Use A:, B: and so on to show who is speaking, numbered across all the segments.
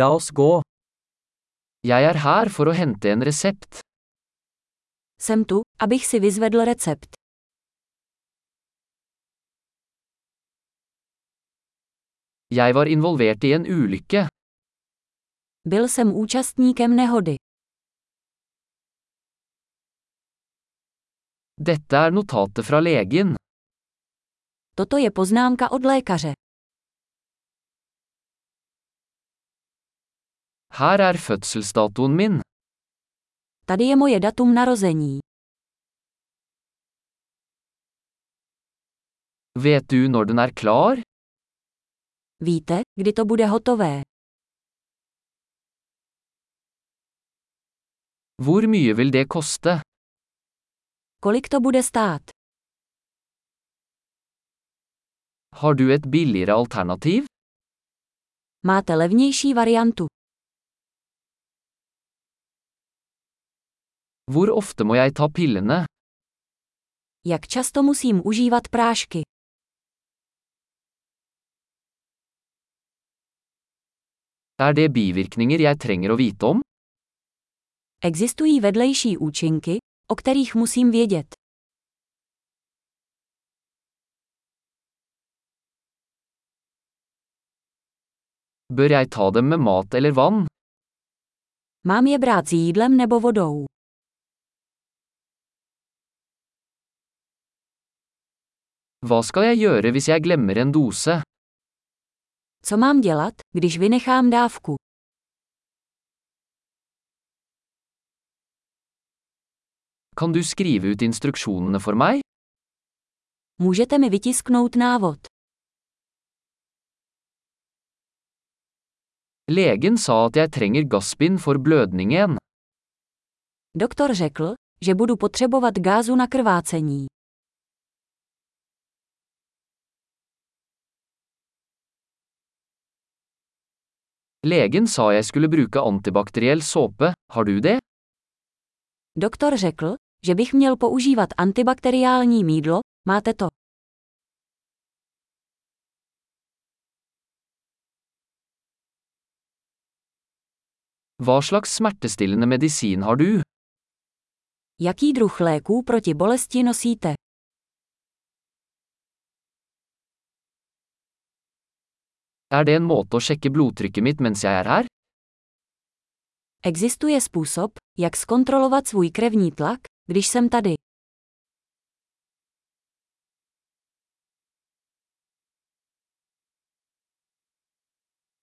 A: La oss gå. Jeg er her for å hente en resept.
B: Jsem tu, abych si vyzvedl recept.
A: Jeg var involvert i en ulykke.
B: Byl jsem účastníkem nehody.
A: Dette er notatet fra legen.
B: Toto je poznámka od lékaře.
A: Her er fødselsdatoen min.
B: Tady je moje datum narození.
A: Vet du når den er klar?
B: Víte, kdy to bude hotové?
A: Hvor mye vil det koste?
B: Kolik to bude stát?
A: Har du et billigere alternativ?
B: Máte levnější variantu.
A: Hvor ofte må jeg ta pillene?
B: Jak často musím užívat prášky?
A: Er det bivirkninger jeg trenger å vite om?
B: Existují vedlejší účinky, o kterých musím vědět.
A: Bør jeg ta dem med mat eller vann?
B: Mám je brát s jídlem nebo vodou?
A: Hva skal jeg gjøre hvis jeg glemmer en dose?
B: Co mám dělat, když vynechám dávku?
A: Kan du skrive ut instruksjonene for meg?
B: Můžete mi vytisknout návod.
A: Legen sa at jeg trenger gassbind for blødningen.
B: Doktor řekl, že budu potřebovat gázu na krvácení.
A: Legen sa jeg skulle bruke antibakteriell såpe, har du det?
B: Doktor řekl, že bych měl používat antibakteriální mídlo, máte to.
A: Hva slags smertestillende medisin har du?
B: Jaký druh léků proti bolesti nosíte?
A: Er det en måte å sjekke blodtrykket mitt mens jeg er her?
B: Existuje způsob, jak zkontrolovat svůj krevní tlak, když jsem tady.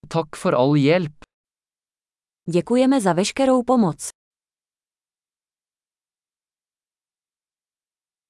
A: Takk for all hjelp.
B: Děkujeme za veškerou pomoc.